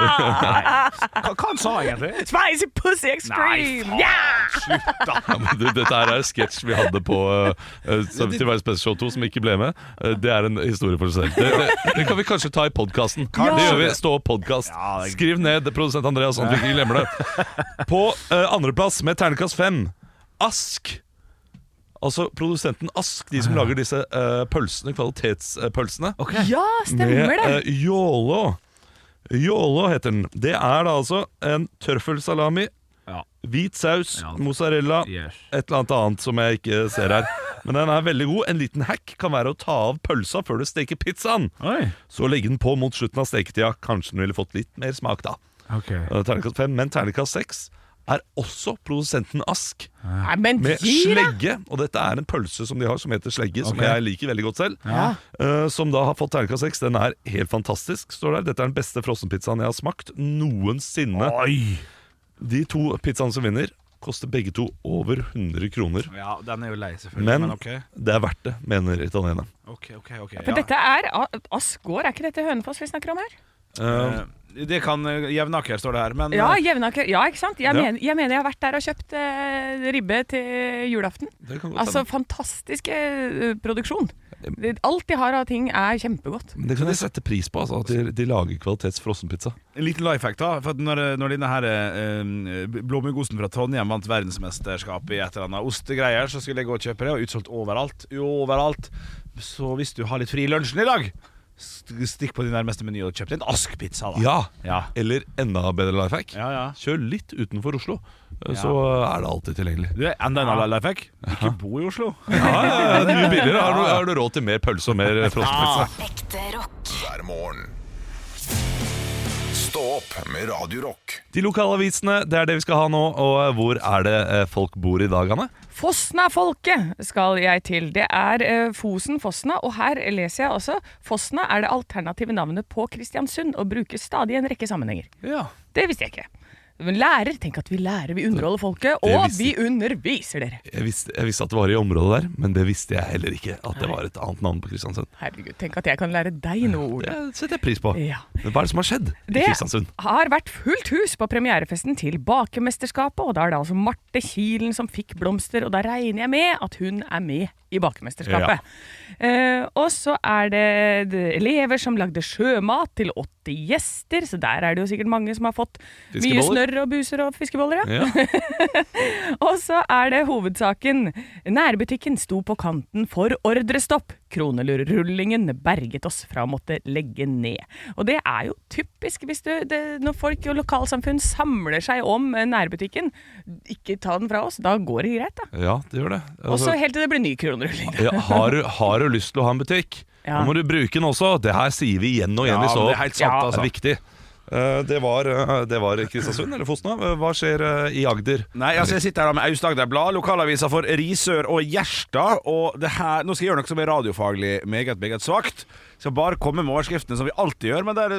S3: Hva, hva han sa han egentlig?
S4: Spicy pussy
S3: Nei,
S4: extreme!
S3: faen.
S4: Ja!
S3: Slutt,
S2: [LAUGHS]
S3: da.
S2: Ja, men du, dette her er sketsj vi hadde på uh, uh, til Være Special Show 2 som ikke ble med. Eh, det er en historie for seg selv. Det, det, det kan vi kanskje ta i podkasten.
S4: Kanskje.
S2: Det gjør vi. Stå podkast.
S3: Ja, det-
S2: Skriv ned produsent Andreas, sånn at vi ikke glemmer det.
S3: [LAUGHS]
S2: På eh, andreplass med ternekast fem, Ask. Altså produsenten Ask, de som
S3: Ah.
S2: lager disse eh, pølsene, kvalitetspølsene.
S4: Ja, stemmer det.
S2: Med eh, Jålå Yolo heter den. Det er da altså en tørrfølsalami,
S3: Ja.
S2: hvit saus,
S3: Ja.
S2: mozzarella,
S3: Yes.
S2: et eller annet annet som jeg ikke ser her. Men den er veldig god. En liten hack kan være å ta av pølsa før du steker pizzaen.
S3: Oi.
S2: Så legge den på mot slutten av steketida. Kanskje den ville fått litt mer smak da.
S3: Ok.
S2: Eh, Terningkast fem, men terningkast seks er også produsenten Ask
S4: Nei, men
S2: med
S4: gi deg!
S2: slegge. Og dette er en pølse som de har som heter slegge, som
S3: Ok.
S2: jeg liker veldig godt selv.
S3: Ja.
S2: Eh, som da har fått terningkast seks. Den er helt fantastisk, står der. Dette er den beste frossenpizzaen jeg har smakt noensinne.
S3: Oi.
S2: De to pizzaene som vinner, koster begge to over 100 kroner.
S3: Ja, den er jo lei, selvfølgelig.
S2: Men det er verdt det, mener italienerne.
S3: ok, ok, ok.
S4: For dette er A- Ass gård, er ikke dette Hønefoss vi snakker om her?
S2: Eh,
S3: Det kan eh, Jevnaker, står det her, men
S4: Ja,
S3: eh,
S4: Jevnaker. Ja, ikke sant? Jeg,
S2: Ja.
S4: mener, jeg mener jeg har vært der og kjøpt eh, ribbe til julaften.
S2: det kan godt
S4: Altså,
S2: hende.
S4: fantastisk eh, produksjon. Det- Alt de har av ting, er kjempegodt.
S2: Men det kan jeg sette pris på, altså, at de, de lager kvalitets frossenpizza.
S3: en liten life hack, da. For at når, når denne her eh, blåmuggosten fra Trondheim vant verdensmesterskapet i et eller annet ostegreier, så skulle jeg gå og kjøpe det, og utsolgt overalt. Overalt. Så hvis du har litt fri i lunsjen i dag, st- stikk på din nærmeste meny og kjøp deg en Ask-pizza, da.
S2: Ja!
S3: Ja.
S2: Eller enda bedre life hack.
S3: ja, ja.
S2: Kjør litt utenfor Oslo, eh,
S3: Ja.
S2: så er det alltid tilgjengelig.
S3: Du, enda en life hack. Ikke bo i Oslo.
S2: Ja, ja, ja, det er mye billigere. Har du, har du råd til mer pølse og mer frossenpizza?
S5: Ekte rock.
S1: hver morgen. Stå opp med Radio Rock.
S2: De lokale avisene, det er det vi skal ha nå. Og hvor er det eh, folk bor i dag, Hanne?
S4: Fosna-folket skal jeg til. Det er eh, Fosen-Fosna, og her leser jeg også Fosna er det alternative navnet på Kristiansund og brukes stadig i en rekke sammenhenger.
S2: Ja.
S4: Det visste jeg ikke. Men lærer, tenk at vi lærer, vi underholder folket,
S2: Det
S4: og
S2: visste
S4: vi underviser dere.
S2: Jeg visste, jeg visste at det var i området der, men det visste jeg heller ikke. At det var et annet navn på Kristiansund.
S4: Herregud, tenk at jeg kan lære deg noe,
S2: Det
S4: Ola.
S2: setter jeg pris på.
S4: Ja.
S2: Men hva er det som har skjedd i
S4: Det
S2: Kristiansund?
S4: har vært fullt hus på premierefesten til Bakemesterskapet, og da er det altså Marte Kilen som fikk blomster, og da regner jeg med at hun er med i Bakemesterskapet. Eh, og så er det d- elever som lagde sjømat til 80 gjester, så der er det jo sikkert mange som har fått mye
S2: Fiskeboller.
S4: snørr og buser og fiskeboller, ja.
S2: Ja.
S4: Og så er det hovedsaken. Nærbutikken sto på kanten for ordrestopp. Kronerullingen berget oss fra å måtte legge ned. Og det er jo typisk hvis du, det, når folk og lokalsamfunn samler seg om eh, nærbutikken. Ikke ta den fra oss, da går det greit, da.
S2: ja, det
S3: [LAUGHS]
S2: gjør det.
S4: Og så
S2: Altså,
S4: helt til det blir ny
S2: [LAUGHS]
S4: kronerulling.
S2: ja, har, du, har du lyst til å ha en butikk,
S4: Ja.
S2: nå må du bruke den også. Det her sier vi igjen og igjen i
S3: men
S2: så
S3: det er helt sant,
S4: Ja.
S2: Det er
S3: altså.
S2: viktig. Eh, Det var, eh, det var Kristiansund eller Fosna. Eh, Hva skjer eh, i Agder?
S3: Nei, altså jeg sitter her da med Aust-Agder Blad, lokalavisa for Risør og Gjerstad. Og det her, nå skal jeg gjøre noe som er radiofaglig meget, meget svakt. Skal bare komme med overskriftene som vi alltid gjør, men der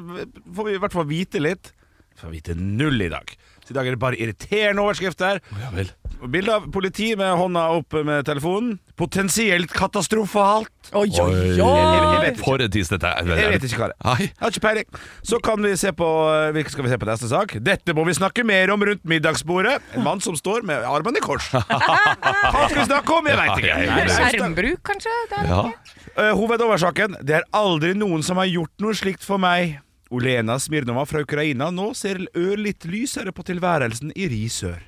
S3: får vi i hvert fall vite litt. Får vite null i dag. Så i dag er det bare irriterende overskrifter.
S2: Ja vel.
S3: Bilde av politi med hånda opp med telefonen. Potensielt katastrofalt.
S4: Oi, oi,
S3: jeg
S4: oi!
S3: vet ikke.
S2: For et tidsdette er.
S3: Jeg vet ikke hva det er.
S2: Nei.
S3: Jeg har ikke peiling. Så kan vi se på eh, Hvilken skal vi se på neste sak? Dette må vi snakke mer om rundt middagsbordet. En mann som står med armene
S2: [LAUGHS]
S3: i kors. Hva skal vi snakke om? Jeg veit ikke.
S2: Nei,
S3: Nei, nei, nei.
S4: Skjermbruk, kanskje? Det er
S2: Ja.
S3: Eh, hovedoversaken Det er aldri noen som har gjort noe slikt for meg. Olena Smirnova fra Ukraina nå ser ørlitt lysere på tilværelsen i Risør.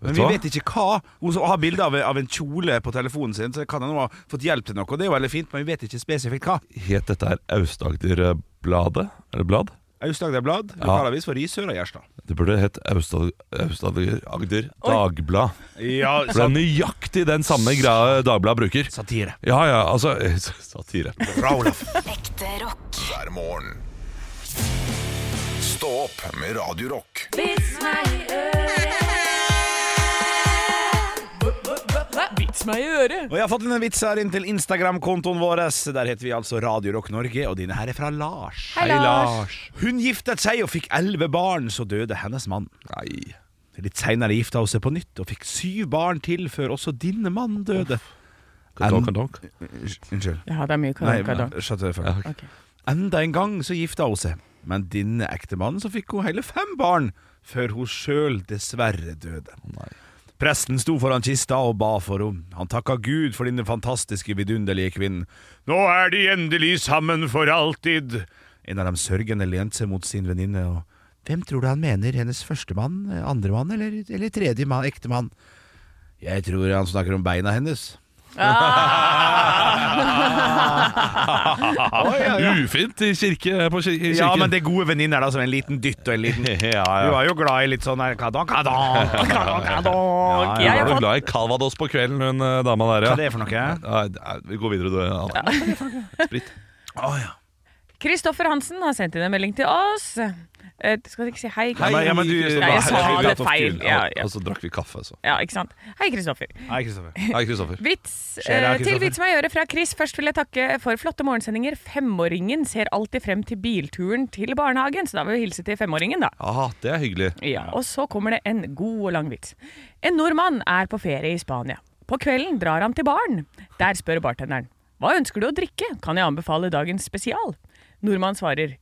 S3: Men
S2: Vet
S3: vi
S2: du hva?
S3: vet ikke hva. Hun som har bilde av, av en kjole på telefonen sin, så kan hun ha fått hjelp til noe. Og det er jo veldig fint, men vi vet ikke spesifikt hva.
S2: Het dette her Aust-Agder-bladet? Er det blad?
S3: Aust-Agder Blad, lokalavis for Risør og Gjerstad.
S2: Det burde hett Aust-Agder Dagblad.
S3: Ja,
S2: For det er nøyaktig den samme greia Dagbladet bruker.
S3: Satire.
S2: Ja, ja, altså [LAUGHS] eh, Satire.
S3: Bra, Olaf.
S5: Ekte rock.
S1: hver morgen. Stå opp med Radio Rock.
S4: Hva? Vits meg i øret!
S3: Og jeg har fått inn en vits her inn til Instagram-kontoen vår. Der heter vi altså Radio Rock Norge, og dine her er fra Lars.
S4: Hei, Lars.
S3: Hun giftet seg og fikk elleve barn, så døde hennes mann.
S2: Nei.
S3: Litt seinere gifta hun seg på nytt og fikk syv barn til før også din mann døde.
S2: Donk and donk.
S3: Unnskyld.
S4: Ja, det er mye
S3: Nei,
S4: karakter. da.
S3: skjønte det
S2: Ja,
S3: først.
S2: ok.
S3: Enda en gang så gifta hun seg, men denne ektemannen så fikk hun hele fem barn før hun sjøl dessverre døde.
S2: Nei.
S3: Presten sto foran kista og ba for henne. Han takka Gud for denne fantastiske, vidunderlige kvinnen. Nå er de endelig sammen for alltid! En av dem sørgende lente seg mot sin venninne og Hvem tror du han mener? Hennes førstemann, andremann eller, eller tredje mann, ektemann? Jeg tror han snakker om beina hennes.
S2: Ufint i kirke, på kir i kirken.
S3: Ja, men det er gode venninner, da, som en liten dytt og en liten
S2: [LAUGHS] ja,
S3: Du
S2: ja.
S3: er jo glad i litt sånn her kadon,
S2: [LAUGHS]
S3: kadon, kadon, kadon.
S4: Ok,
S2: Hun var
S4: jeg har
S2: jo
S4: fått
S2: glad i Calvados på kvelden, hun eh, dama der.
S3: Hva
S2: Ja.
S3: er det for noe?
S2: Nei, nei, vi går videre, du. Anna. Sprit.
S4: Kristoffer Hansen har sendt inn en melding til oss. Eh, skal jeg ikke si hei?
S3: Hei, ja, men du-
S4: Nei, jeg sa
S2: Helvete,
S4: det
S2: Toft
S4: feil.
S2: Gud.
S4: Ja,
S2: Og
S4: ja.
S2: så drakk vi kaffe, så.
S4: ja, ikke sant. Hei, Kristoffer.
S3: Nei, Kristoffer.
S4: [LAUGHS]
S2: Hei, Kristoffer.
S4: Vits,
S3: Skjer det,
S4: eh, til
S3: Kristoffer?
S4: Vits meg i øret fra Chris. Først vil jeg takke for flotte morgensendinger. Femåringen ser alltid frem til bilturen til barnehagen, så da vil vi hilse til femåringen, da.
S2: Ja, det er hyggelig.
S4: Ja, og så kommer det en god og lang vits. En nordmann er på ferie i Spania. På kvelden drar han til baren. Der spør bartenderen. Hva ønsker du å drikke? Kan jeg anbefale dagens spesial? Nordmannen svarer.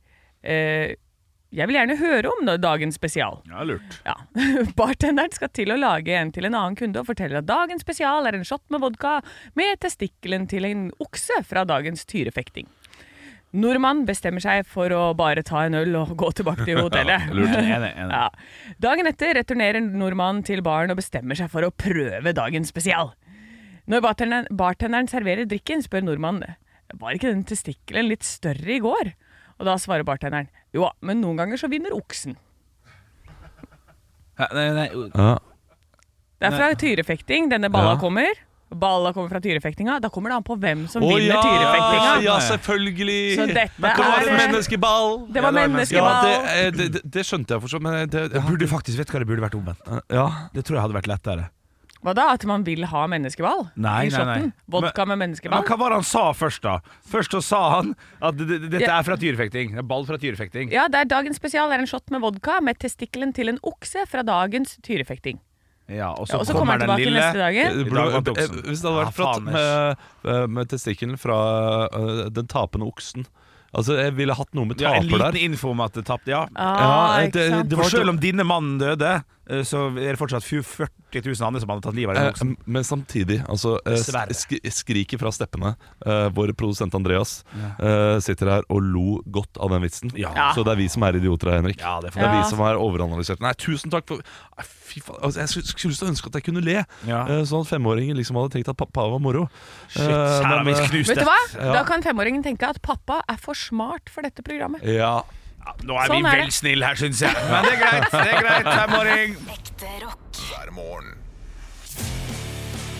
S4: Eh, jeg vil gjerne høre om dagens spesial.
S3: Ja, lurt.
S4: Ja. [LAUGHS] Bartenderen skal til å lage en til en annen kunde og forteller at dagens spesial er en shot med vodka med testikkelen til en okse fra dagens tyrefekting. Nordmannen bestemmer seg for å bare ta en øl og gå
S2: [LAUGHS]
S4: tilbake til hotellet.
S3: Enig, enig.
S4: Ja. Dagen etter returnerer nordmannen til baren og bestemmer seg for å prøve dagens spesial. Når bartenderen, bartenderen serverer drikken, spør nordmannen Var ikke den testikkelen litt større i går? Og da svarer bartenderen Jo, men noen ganger så vinner oksen.
S3: Ja, Nei, nei,
S2: Ja.
S4: Det er fra tyrefekting. Denne balla
S2: Ja.
S4: kommer. Balla kommer fra tyrefektinga. Da kommer det an på hvem som
S2: Å,
S4: vinner
S2: ja,
S4: tyrefektinga.
S2: Ja, selvfølgelig!
S4: Så dette
S2: Men det var
S4: er-
S2: en menneskeball!
S3: Ja,
S4: Det var
S3: det var
S2: Ja,
S4: menneskeball.
S2: det, eh, det, det, det skjønte jeg forstått, men det,
S3: det burde faktisk, vet du hva det burde vært omvendt?
S2: Ja.
S3: Det tror jeg hadde vært lettere.
S4: Hva da? At man vil ha menneskeball?
S3: Nei, nei,
S4: I
S3: nei.
S4: shotten? Vodka med
S3: Men
S4: menneskeball?
S3: hva var det han sa først, da? Først så sa han at det- det- dette
S4: Ja.
S3: er fra tyrefekting. Det er ball fra tyrefekting.
S4: Ja, det er dagens spesial er en shot med vodka med testikkelen til en okse fra dagens tyrefekting.
S3: Ja, og
S4: Ja, og så kommer han tilbake neste dagen.
S2: Det
S3: I
S2: burde,
S3: dag vant
S2: eh,
S3: oksen.
S2: hvis det hadde vært
S3: Ja,
S2: flott
S3: faen,
S2: med, med testikkelen fra eh, den tapende oksen Altså, jeg ville hatt noe med
S3: Ja, en
S2: taper
S3: liten
S2: der.
S3: info om at det tapte, ja.
S4: Ah,
S2: Ja,
S4: ikke
S2: det-
S4: sant?
S2: det
S3: For
S2: var-
S3: selv om dine mann døde, eh, så er det fortsatt 40 000 andre som hadde tatt livet av den
S2: Eh,
S3: oksen.
S2: Men samtidig, altså eh,
S3: Dessverre.
S2: sk Skriket fra steppene. Eh, vår produsent Andreas eh, sitter her og lo godt av den vitsen.
S3: Ja.
S2: Så det er vi som er idioter her, Henrik.
S3: Ja, det får
S2: Det er
S4: Ja.
S2: vi som har overanalysert. Nei, tusen takk for Nei, Fy faen, altså, Jeg skulle- skulle lyst til å ønske at jeg kunne le,
S3: Ja.
S2: eh, sånn at femåringen liksom hadde tenkt at pappa var moro.
S3: Shit,
S2: Eh,
S3: her har vi
S2: men, eh,
S3: knust
S4: Vet du
S3: det.
S4: hva?
S2: Ja.
S4: Da kan femåringen tenke at pappa er for smart for dette programmet.
S2: ja.
S3: Ja, Nå er
S4: Sånn
S3: vi
S4: er
S3: vel
S4: det.
S3: snille her, syns jeg. Men det er greit. det er greit, femåring.
S5: Ekte rock.
S1: hver morgen.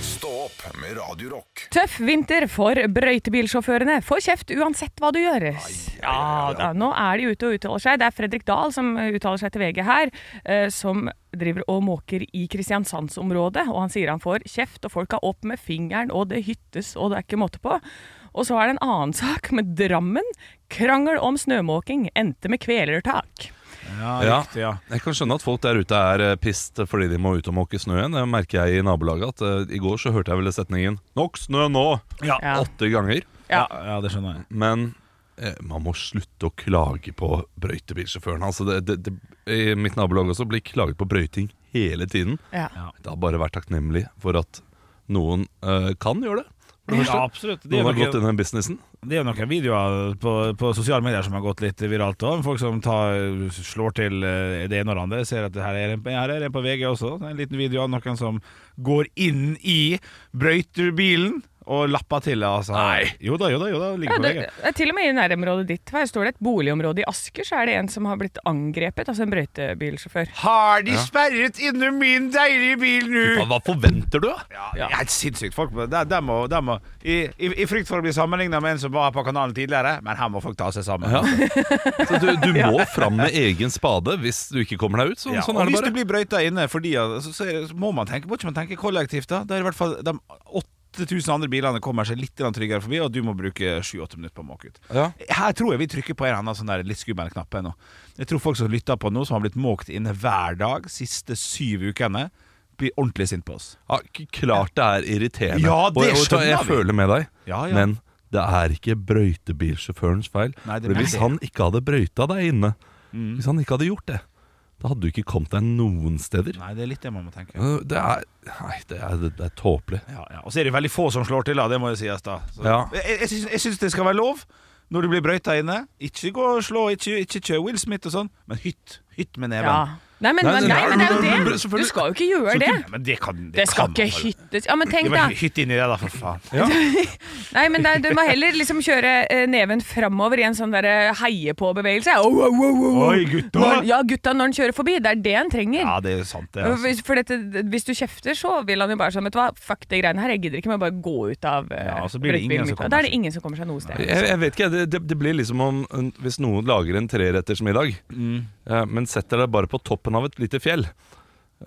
S1: Stå opp med Radio Rock.
S4: Tøff vinter for brøytebilsjåførene. Få kjeft uansett hva du gjør. Ja, da, nå er de ute og uttaler seg. Det er Fredrik Dahl som eh, uttaler seg til VG her, eh, som driver og måker i Kristiansandsområdet. Og han sier han får kjeft, og folk er opp med fingeren, og det hyttes, og det er ikke måte på. Og så er det en annen [LAUGHS] sak med Drammen. Krangel om snømåking endte med kvelertak.
S3: Ja,
S2: Ja.
S3: riktig, ja.
S2: Jeg kan skjønne at folk der ute er eh, pissed fordi de må ut og måke snø igjen. Det merker jeg i nabolaget. at eh, I går så hørte jeg vel setningen 'Nok snø nå!'
S4: Ja.
S2: åtte ganger.
S3: Ja,
S4: Ja.
S3: ja, det skjønner jeg.
S2: Men eh, man må slutte å klage på brøytebilsjåføren. Altså, det, det, det, I mitt nabolag også blir klaget på brøyting hele tiden.
S4: Ja.
S2: Da bare vær takknemlig for at noen eh, kan gjøre det. For det
S3: Ja,
S2: første.
S3: absolutt. Det er,
S2: Noen har gått
S3: noen,
S2: inn i den businessen.
S3: det er jo noen videoer på, på sosiale medier som har gått litt viralt òg. Folk som tar, slår til eh, det ene og det andre. Ser at her er en, her er en på VG også. Det er En liten video av noen som går inn i brøytebilen og lapper til. Altså.
S2: Nei.
S3: Jo da, jo da. jo da
S4: Ja,
S3: Ligger på
S4: det,
S3: VG.
S4: det er til og med i nærområdet ditt. Her står det et boligområde i Asker, så er det en som har blitt angrepet, altså en brøytebilsjåfør.
S3: Har de sperret inne min deilige bil nå?
S2: Hva, hva forventer du?
S3: [LAUGHS] Ja, det er helt sinnssykt. Folk, må- de, de må, de må, i, i, I frykt for å bli sammenligna med en som var her på kanalen tidligere, men her må folk ta seg sammen.
S2: Ja. Så du, du må fram med egen spade hvis du ikke kommer deg ut. Sånn,
S3: Ja,
S2: sånn
S3: og
S2: er det
S3: hvis
S2: bare.
S3: du blir brøyta inne, fordi, at- så, så, er det, så må man tenke, må ikke man tenke kollektivt. Da Da er det i hvert fall de 8000 andre bilene kommer seg litt grann tryggere forbi, og du må bruke 7-8 minutter på å måke ut.
S2: Ja.
S3: Her tror jeg vi trykker på en eller annen sånn der litt skummel knapp ennå. Jeg tror folk som lytter på nå, som har blitt måkt inne hver dag siste syv ukene, blir ordentlig sint på oss.
S2: Ja, Ah, k- klart det er irriterende.
S3: Ja, det
S2: Og- og,
S3: skjønner
S2: jeg.
S3: vi.
S2: føler med deg,
S3: Ja, ja.
S2: men det er ikke brøytebilsjåførens feil.
S3: Nei, det
S2: For
S3: er
S2: hvis
S3: det. Mm.
S2: han ikke hadde brøyta deg inne, hvis han ikke hadde gjort det, da hadde du ikke kommet deg noen steder.
S3: Nei, det er litt det man må tenke.
S2: Øh, Det er, nei, det er, det er tåpelig.
S3: Ja, ja. Og så er det veldig få som slår til, da. Det må jo sies, da. Så,
S2: Ja.
S3: Jeg, jeg, syns- jeg syns det skal være lov når du blir brøyta inne. Ikke gå og slå, ikke, ikke kjør Will Smith og sånn, men hytt. Hytt med neven.
S4: Ja. Nei, men,
S3: Nei,
S4: men, nei,
S3: nei,
S4: men det er
S2: men-
S4: jo
S2: men
S4: det!
S2: selvfølgelig-
S4: Du skal jo ikke gjøre
S3: Så
S4: det.
S3: kunne- Men det kan det, kan
S4: Det skal
S3: man
S4: ikke
S3: vel.
S4: hyttes Ja, men tenk,
S3: Ja,
S4: da.
S3: men Hytt inni det, da, for faen.
S4: Nei, men det, er- Du må heller liksom kjøre eh, neven framover i en sånn derre heie-på-bevegelse. Au, au, au, au, au.
S3: Oi, gutta!
S4: Når, ja, gutta når han kjører forbi. Det er det han trenger.
S3: Ja, det er jo sant, det. Altså.
S4: Hvis- For dette, hvis du kjefter, så vil han jo bare sånn Vet du hva, fuck de greiene her, jeg gidder ikke, men bare gå ut av eh,
S3: Ja, og så blir det
S4: brettbilen
S3: ingen som
S4: min».
S3: kommer
S4: Og Da er
S3: seg.
S4: det ingen som kommer seg noe sted.
S2: Jeg, jeg vet ikke, det, det, det blir liksom om en- Hvis noen lager en trerettersmiddag
S3: Mm.
S2: eh, Men setter deg bare på toppen av et lite fjell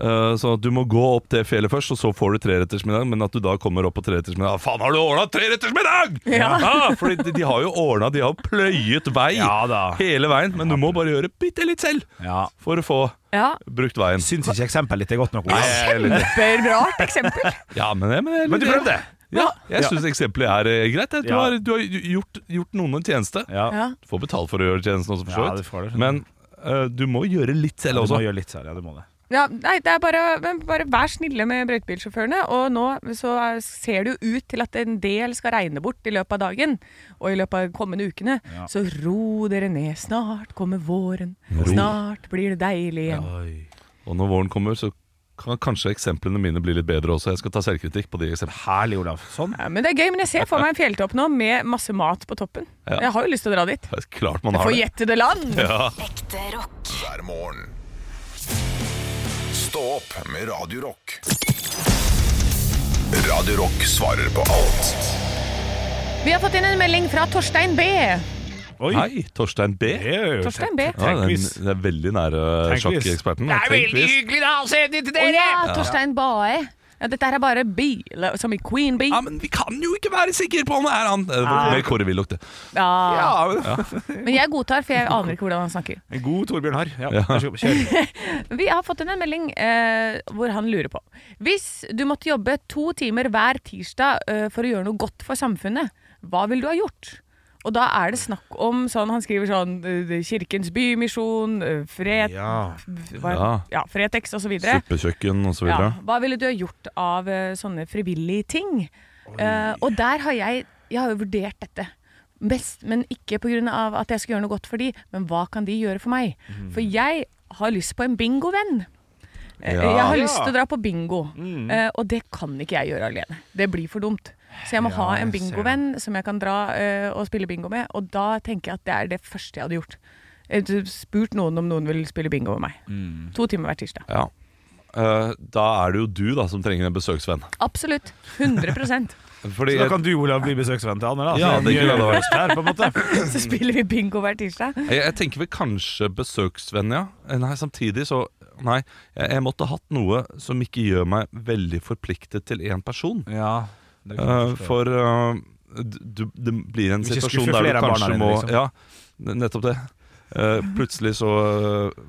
S2: eh, Så at du må gå opp det fjellet først Og så får du trerettersmiddag Men at du da kommer opp på trerettersmiddag «Ah, Faen, har du ordnet trerettersmiddag?
S4: Ja.
S2: fordi de, de har jo ordnet, de har pløyet vei
S3: Ja da.
S2: Hele veien, men du må bare gjøre bittelitt selv
S3: Ja.
S2: For å få
S4: Ja.
S2: brukt veien
S3: Syns ikke eksempelet ditt er godt nok. Olav.
S4: Kjemperart eksempel.
S2: Ja, men, jeg- men, jeg-
S3: Men du prøvde!
S2: Ja, jeg synes eksempelet er eh, greit jeg. Du,
S3: Ja.
S2: har, du har gjort, gjort noen en tjeneste
S3: Ja.
S4: Ja.
S2: Du får betalt for å gjøre tjenesten også, for så
S3: Ja,
S2: vidt.
S3: du får det, skjønner
S2: Men eh, du må gjøre litt
S3: Du
S2: selv
S3: må
S2: også.
S3: gjøre litt selv, ja, du må det.
S4: Ja, nei, det er bare, men bare vær snille med brøytebilsjåførene. Og nå så ser det jo ut til at en del skal regne bort i løpet av dagen og i løpet av de kommende ukene. Så ro dere ned. Snart kommer våren. Snart blir det deilig igjen.
S2: Og når våren kommer, så kan kanskje eksemplene mine bli litt bedre også. Jeg skal ta selvkritikk på de eksemplene. [LAUGHS]
S3: Herlig, Olav. Sånn.
S4: Ja, men det er gøy, men jeg ser for meg en fjelltopp nå med masse mat på toppen.
S2: Ja.
S4: Jeg har jo lyst til å dra dit.
S2: Det er klart man har det.
S4: Forjettede land!
S5: Ekte rock.
S1: hver morgen. Stå opp med Radio Rock. Radio Rock svarer på alt
S4: Vi har fått inn en melding fra Torstein B.
S3: Oi.
S2: Hei, Torstein B.
S3: Det er jo
S4: Torstein B.
S2: Ja, det, er,
S3: Tenkvis.
S2: det er veldig nære eh,
S3: Tenkvis.
S2: sjakkeksperten. Tenkvis.
S4: hyggelig da å se dere til dere! ja, Torstein Bae. Ja, dette her er bare bi, som i Queen Bee.
S2: Ja, men vi kan jo ikke være sikre på om det er han! Det var mer Kåre Willoch, det.
S4: Ja.
S3: Ja,
S4: Men jeg godtar, for jeg aner ikke hvordan han snakker.
S3: en god Torbjørn Harr. Ja, vær så god, kjør.
S4: [LAUGHS] Vi har fått inn en melding eh, hvor han lurer på Hvis du måtte jobbe to timer hver tirsdag eh, for å gjøre noe godt for samfunnet, hva ville du ha gjort? Og da er det snakk om sånn Han skriver sånn eh, Kirkens Bymisjon, eh, Fred...
S3: Ja.
S4: f- hva-
S2: Ja.
S4: ja Fretex og så videre.
S2: Suppekjøkken og så
S4: Ja.
S2: videre.
S4: Hva ville du ha gjort av eh, sånne frivillige ting? Eh, og der har jeg Jeg har jo vurdert dette. Best, men ikke pga. at jeg skal gjøre noe godt for de, men hva kan de gjøre for meg? For jeg har lyst på en bingovenn. Eh,
S2: Ja.
S4: Jeg har
S3: Ja.
S4: lyst til å dra på bingo, eh, og det kan ikke jeg gjøre alene. Det blir for dumt. Så jeg må
S3: Ja,
S4: ha en
S3: jeg ser
S4: bingovenn som jeg kan dra eh, og spille bingo med, og da tenker jeg at det er det første jeg hadde gjort. Jeg hadde Spurt noen om noen vil spille bingo med meg. To timer hver tirsdag.
S2: Ja. Eh, da er det jo du da som trenger en besøksvenn.
S4: Absolutt. [CLEARS THROAT] 100
S2: Fordi
S3: Så da kan du, Olav, bli besøksvenn til Anne, da.
S2: Ja,
S3: Så
S2: det
S3: gjør
S2: kunne
S3: vi
S2: det vært.
S3: oss Der, på en måte.
S4: Så spiller vi bingo hver tirsdag.
S2: Jeg, jeg tenker vel kanskje besøksvenn, ja. Eh, Nei, samtidig så Nei, jeg, jeg måtte hatt noe som ikke gjør meg veldig forpliktet til én person.
S3: Ja,
S2: Eh, for eh, du, det blir en
S3: Ikke
S2: situasjon
S3: skuffe
S2: der du
S3: flere av barna
S2: kanskje
S3: dine,
S2: må
S3: liksom.
S2: Ja, n- nettopp det. Eh, plutselig så eh,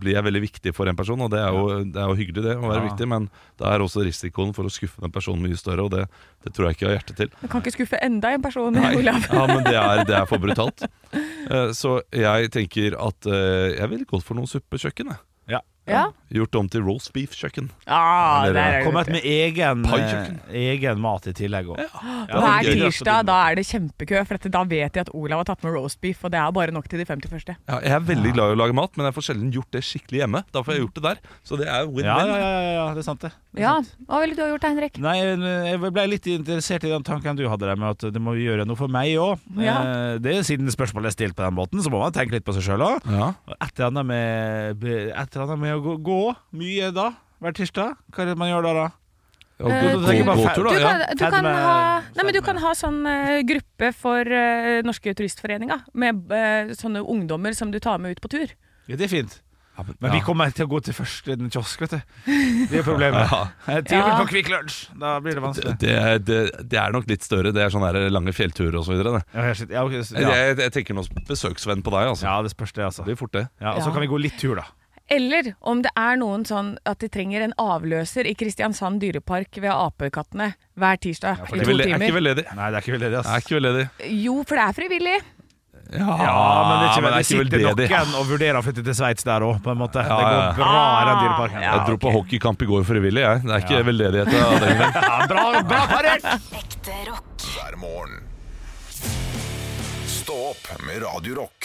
S2: blir jeg veldig viktig for en person, og det er jo, det er jo hyggelig det å være
S3: Ja.
S2: viktig, men det er også risikoen for å skuffe den personen mye større, og det, det tror jeg ikke jeg har hjerte til.
S4: Du kan ikke skuffe enda en person,
S2: Nei.
S4: Olav.
S2: Ja, men det er, det er for brutalt. Eh, Så jeg tenker at eh, jeg ville gått for noen suppekjøkken. jeg.
S3: Ja.
S4: [LAUGHS] Ja,
S2: Gjort om til roast beef-kjøkken.
S4: ah,
S2: Eller,
S4: der er det.
S3: Kommet med egen, eh,
S2: Paikjøkken.
S3: egen mat i tillegg òg.
S4: Hver tirsdag da er det kjempekø, for dette, da vet jeg at Olav har tatt med roast beef, og det er bare nok til de 50 første.
S2: Ja, jeg er veldig glad i å lage mat, men jeg får sjelden gjort det skikkelig hjemme. Da får jeg gjort det der. Så det er jo
S3: Ja,
S2: win-win.
S3: ja, ja, ja, det er sant, det. det er
S4: Ja,
S3: sant.
S4: Hva ville du ha gjort da, Henrik?
S3: Nei, jeg ble litt interessert i den tanken du hadde der med at det må vi gjøre noe for meg òg.
S4: Ja.
S3: Siden spørsmålet er stilt på den måten, så må man tenke litt på seg sjøl òg.
S2: Ja.
S3: Et eller annet med, et eller annet med å gå, gå mye da, hver tirsdag. Hva er det man gjør da, da?
S2: Og
S4: Eh,
S2: gå-
S4: du-
S2: gå-
S3: du-
S2: gåtur, da.
S4: Du
S2: Ja.
S4: kan, du
S3: Fed
S4: kan,
S3: med-
S4: ha, nei, men du
S3: fed
S4: kan ha sånn eh, gruppe for eh, Norske Turistforeninga, med eh, sånne ungdommer som du tar med ut på tur.
S3: Ja, det er fint.
S2: men-
S3: Men vi
S2: ja.
S3: kommer til å gå til først en kiosk, vet du. Det er [LAUGHS] problemet.
S2: Ja.
S3: Eh, Timen
S4: Ja.
S3: på Kvikk Lunsj! Da blir det vanskelig.
S2: Det, er- det, det er nok litt større. Det er sånne der lange fjellturer og så videre. Det.
S3: Ja, jeg sitter- ja, ok, så- ja.
S2: Jeg, jeg tenker nå besøksvenn på deg, altså.
S3: ja, det spørs det, altså.
S2: Det blir fort det.
S3: Ja, og så
S4: Ja.
S3: kan vi gå litt tur, da.
S4: Eller om det er noen sånn at de trenger en avløser i Kristiansand dyrepark ved apekattene hver tirsdag i
S2: Det
S4: to
S2: vil- er ikke
S4: timer.
S2: veldedig.
S3: Nei, det er ikke vel det, altså.
S2: Er
S3: ass.
S2: ikke veldedig.
S4: Jo, for det er frivillig.
S2: Ja,
S3: Ja, Ah, men det, er ikke, vel- det
S2: veldedig.
S3: sitter noen og vurderer å flytte til Sveits der òg, på en måte. Det
S2: ja, ja.
S3: går bra i den dyreparken.
S2: Jeg dro på hockeykamp i går frivillig, jeg. Det er ikke veldedighet av den grunn.
S3: Bra, bra parert!
S5: Ekte rock.
S1: hver morgen. Stå opp med Radio Rock.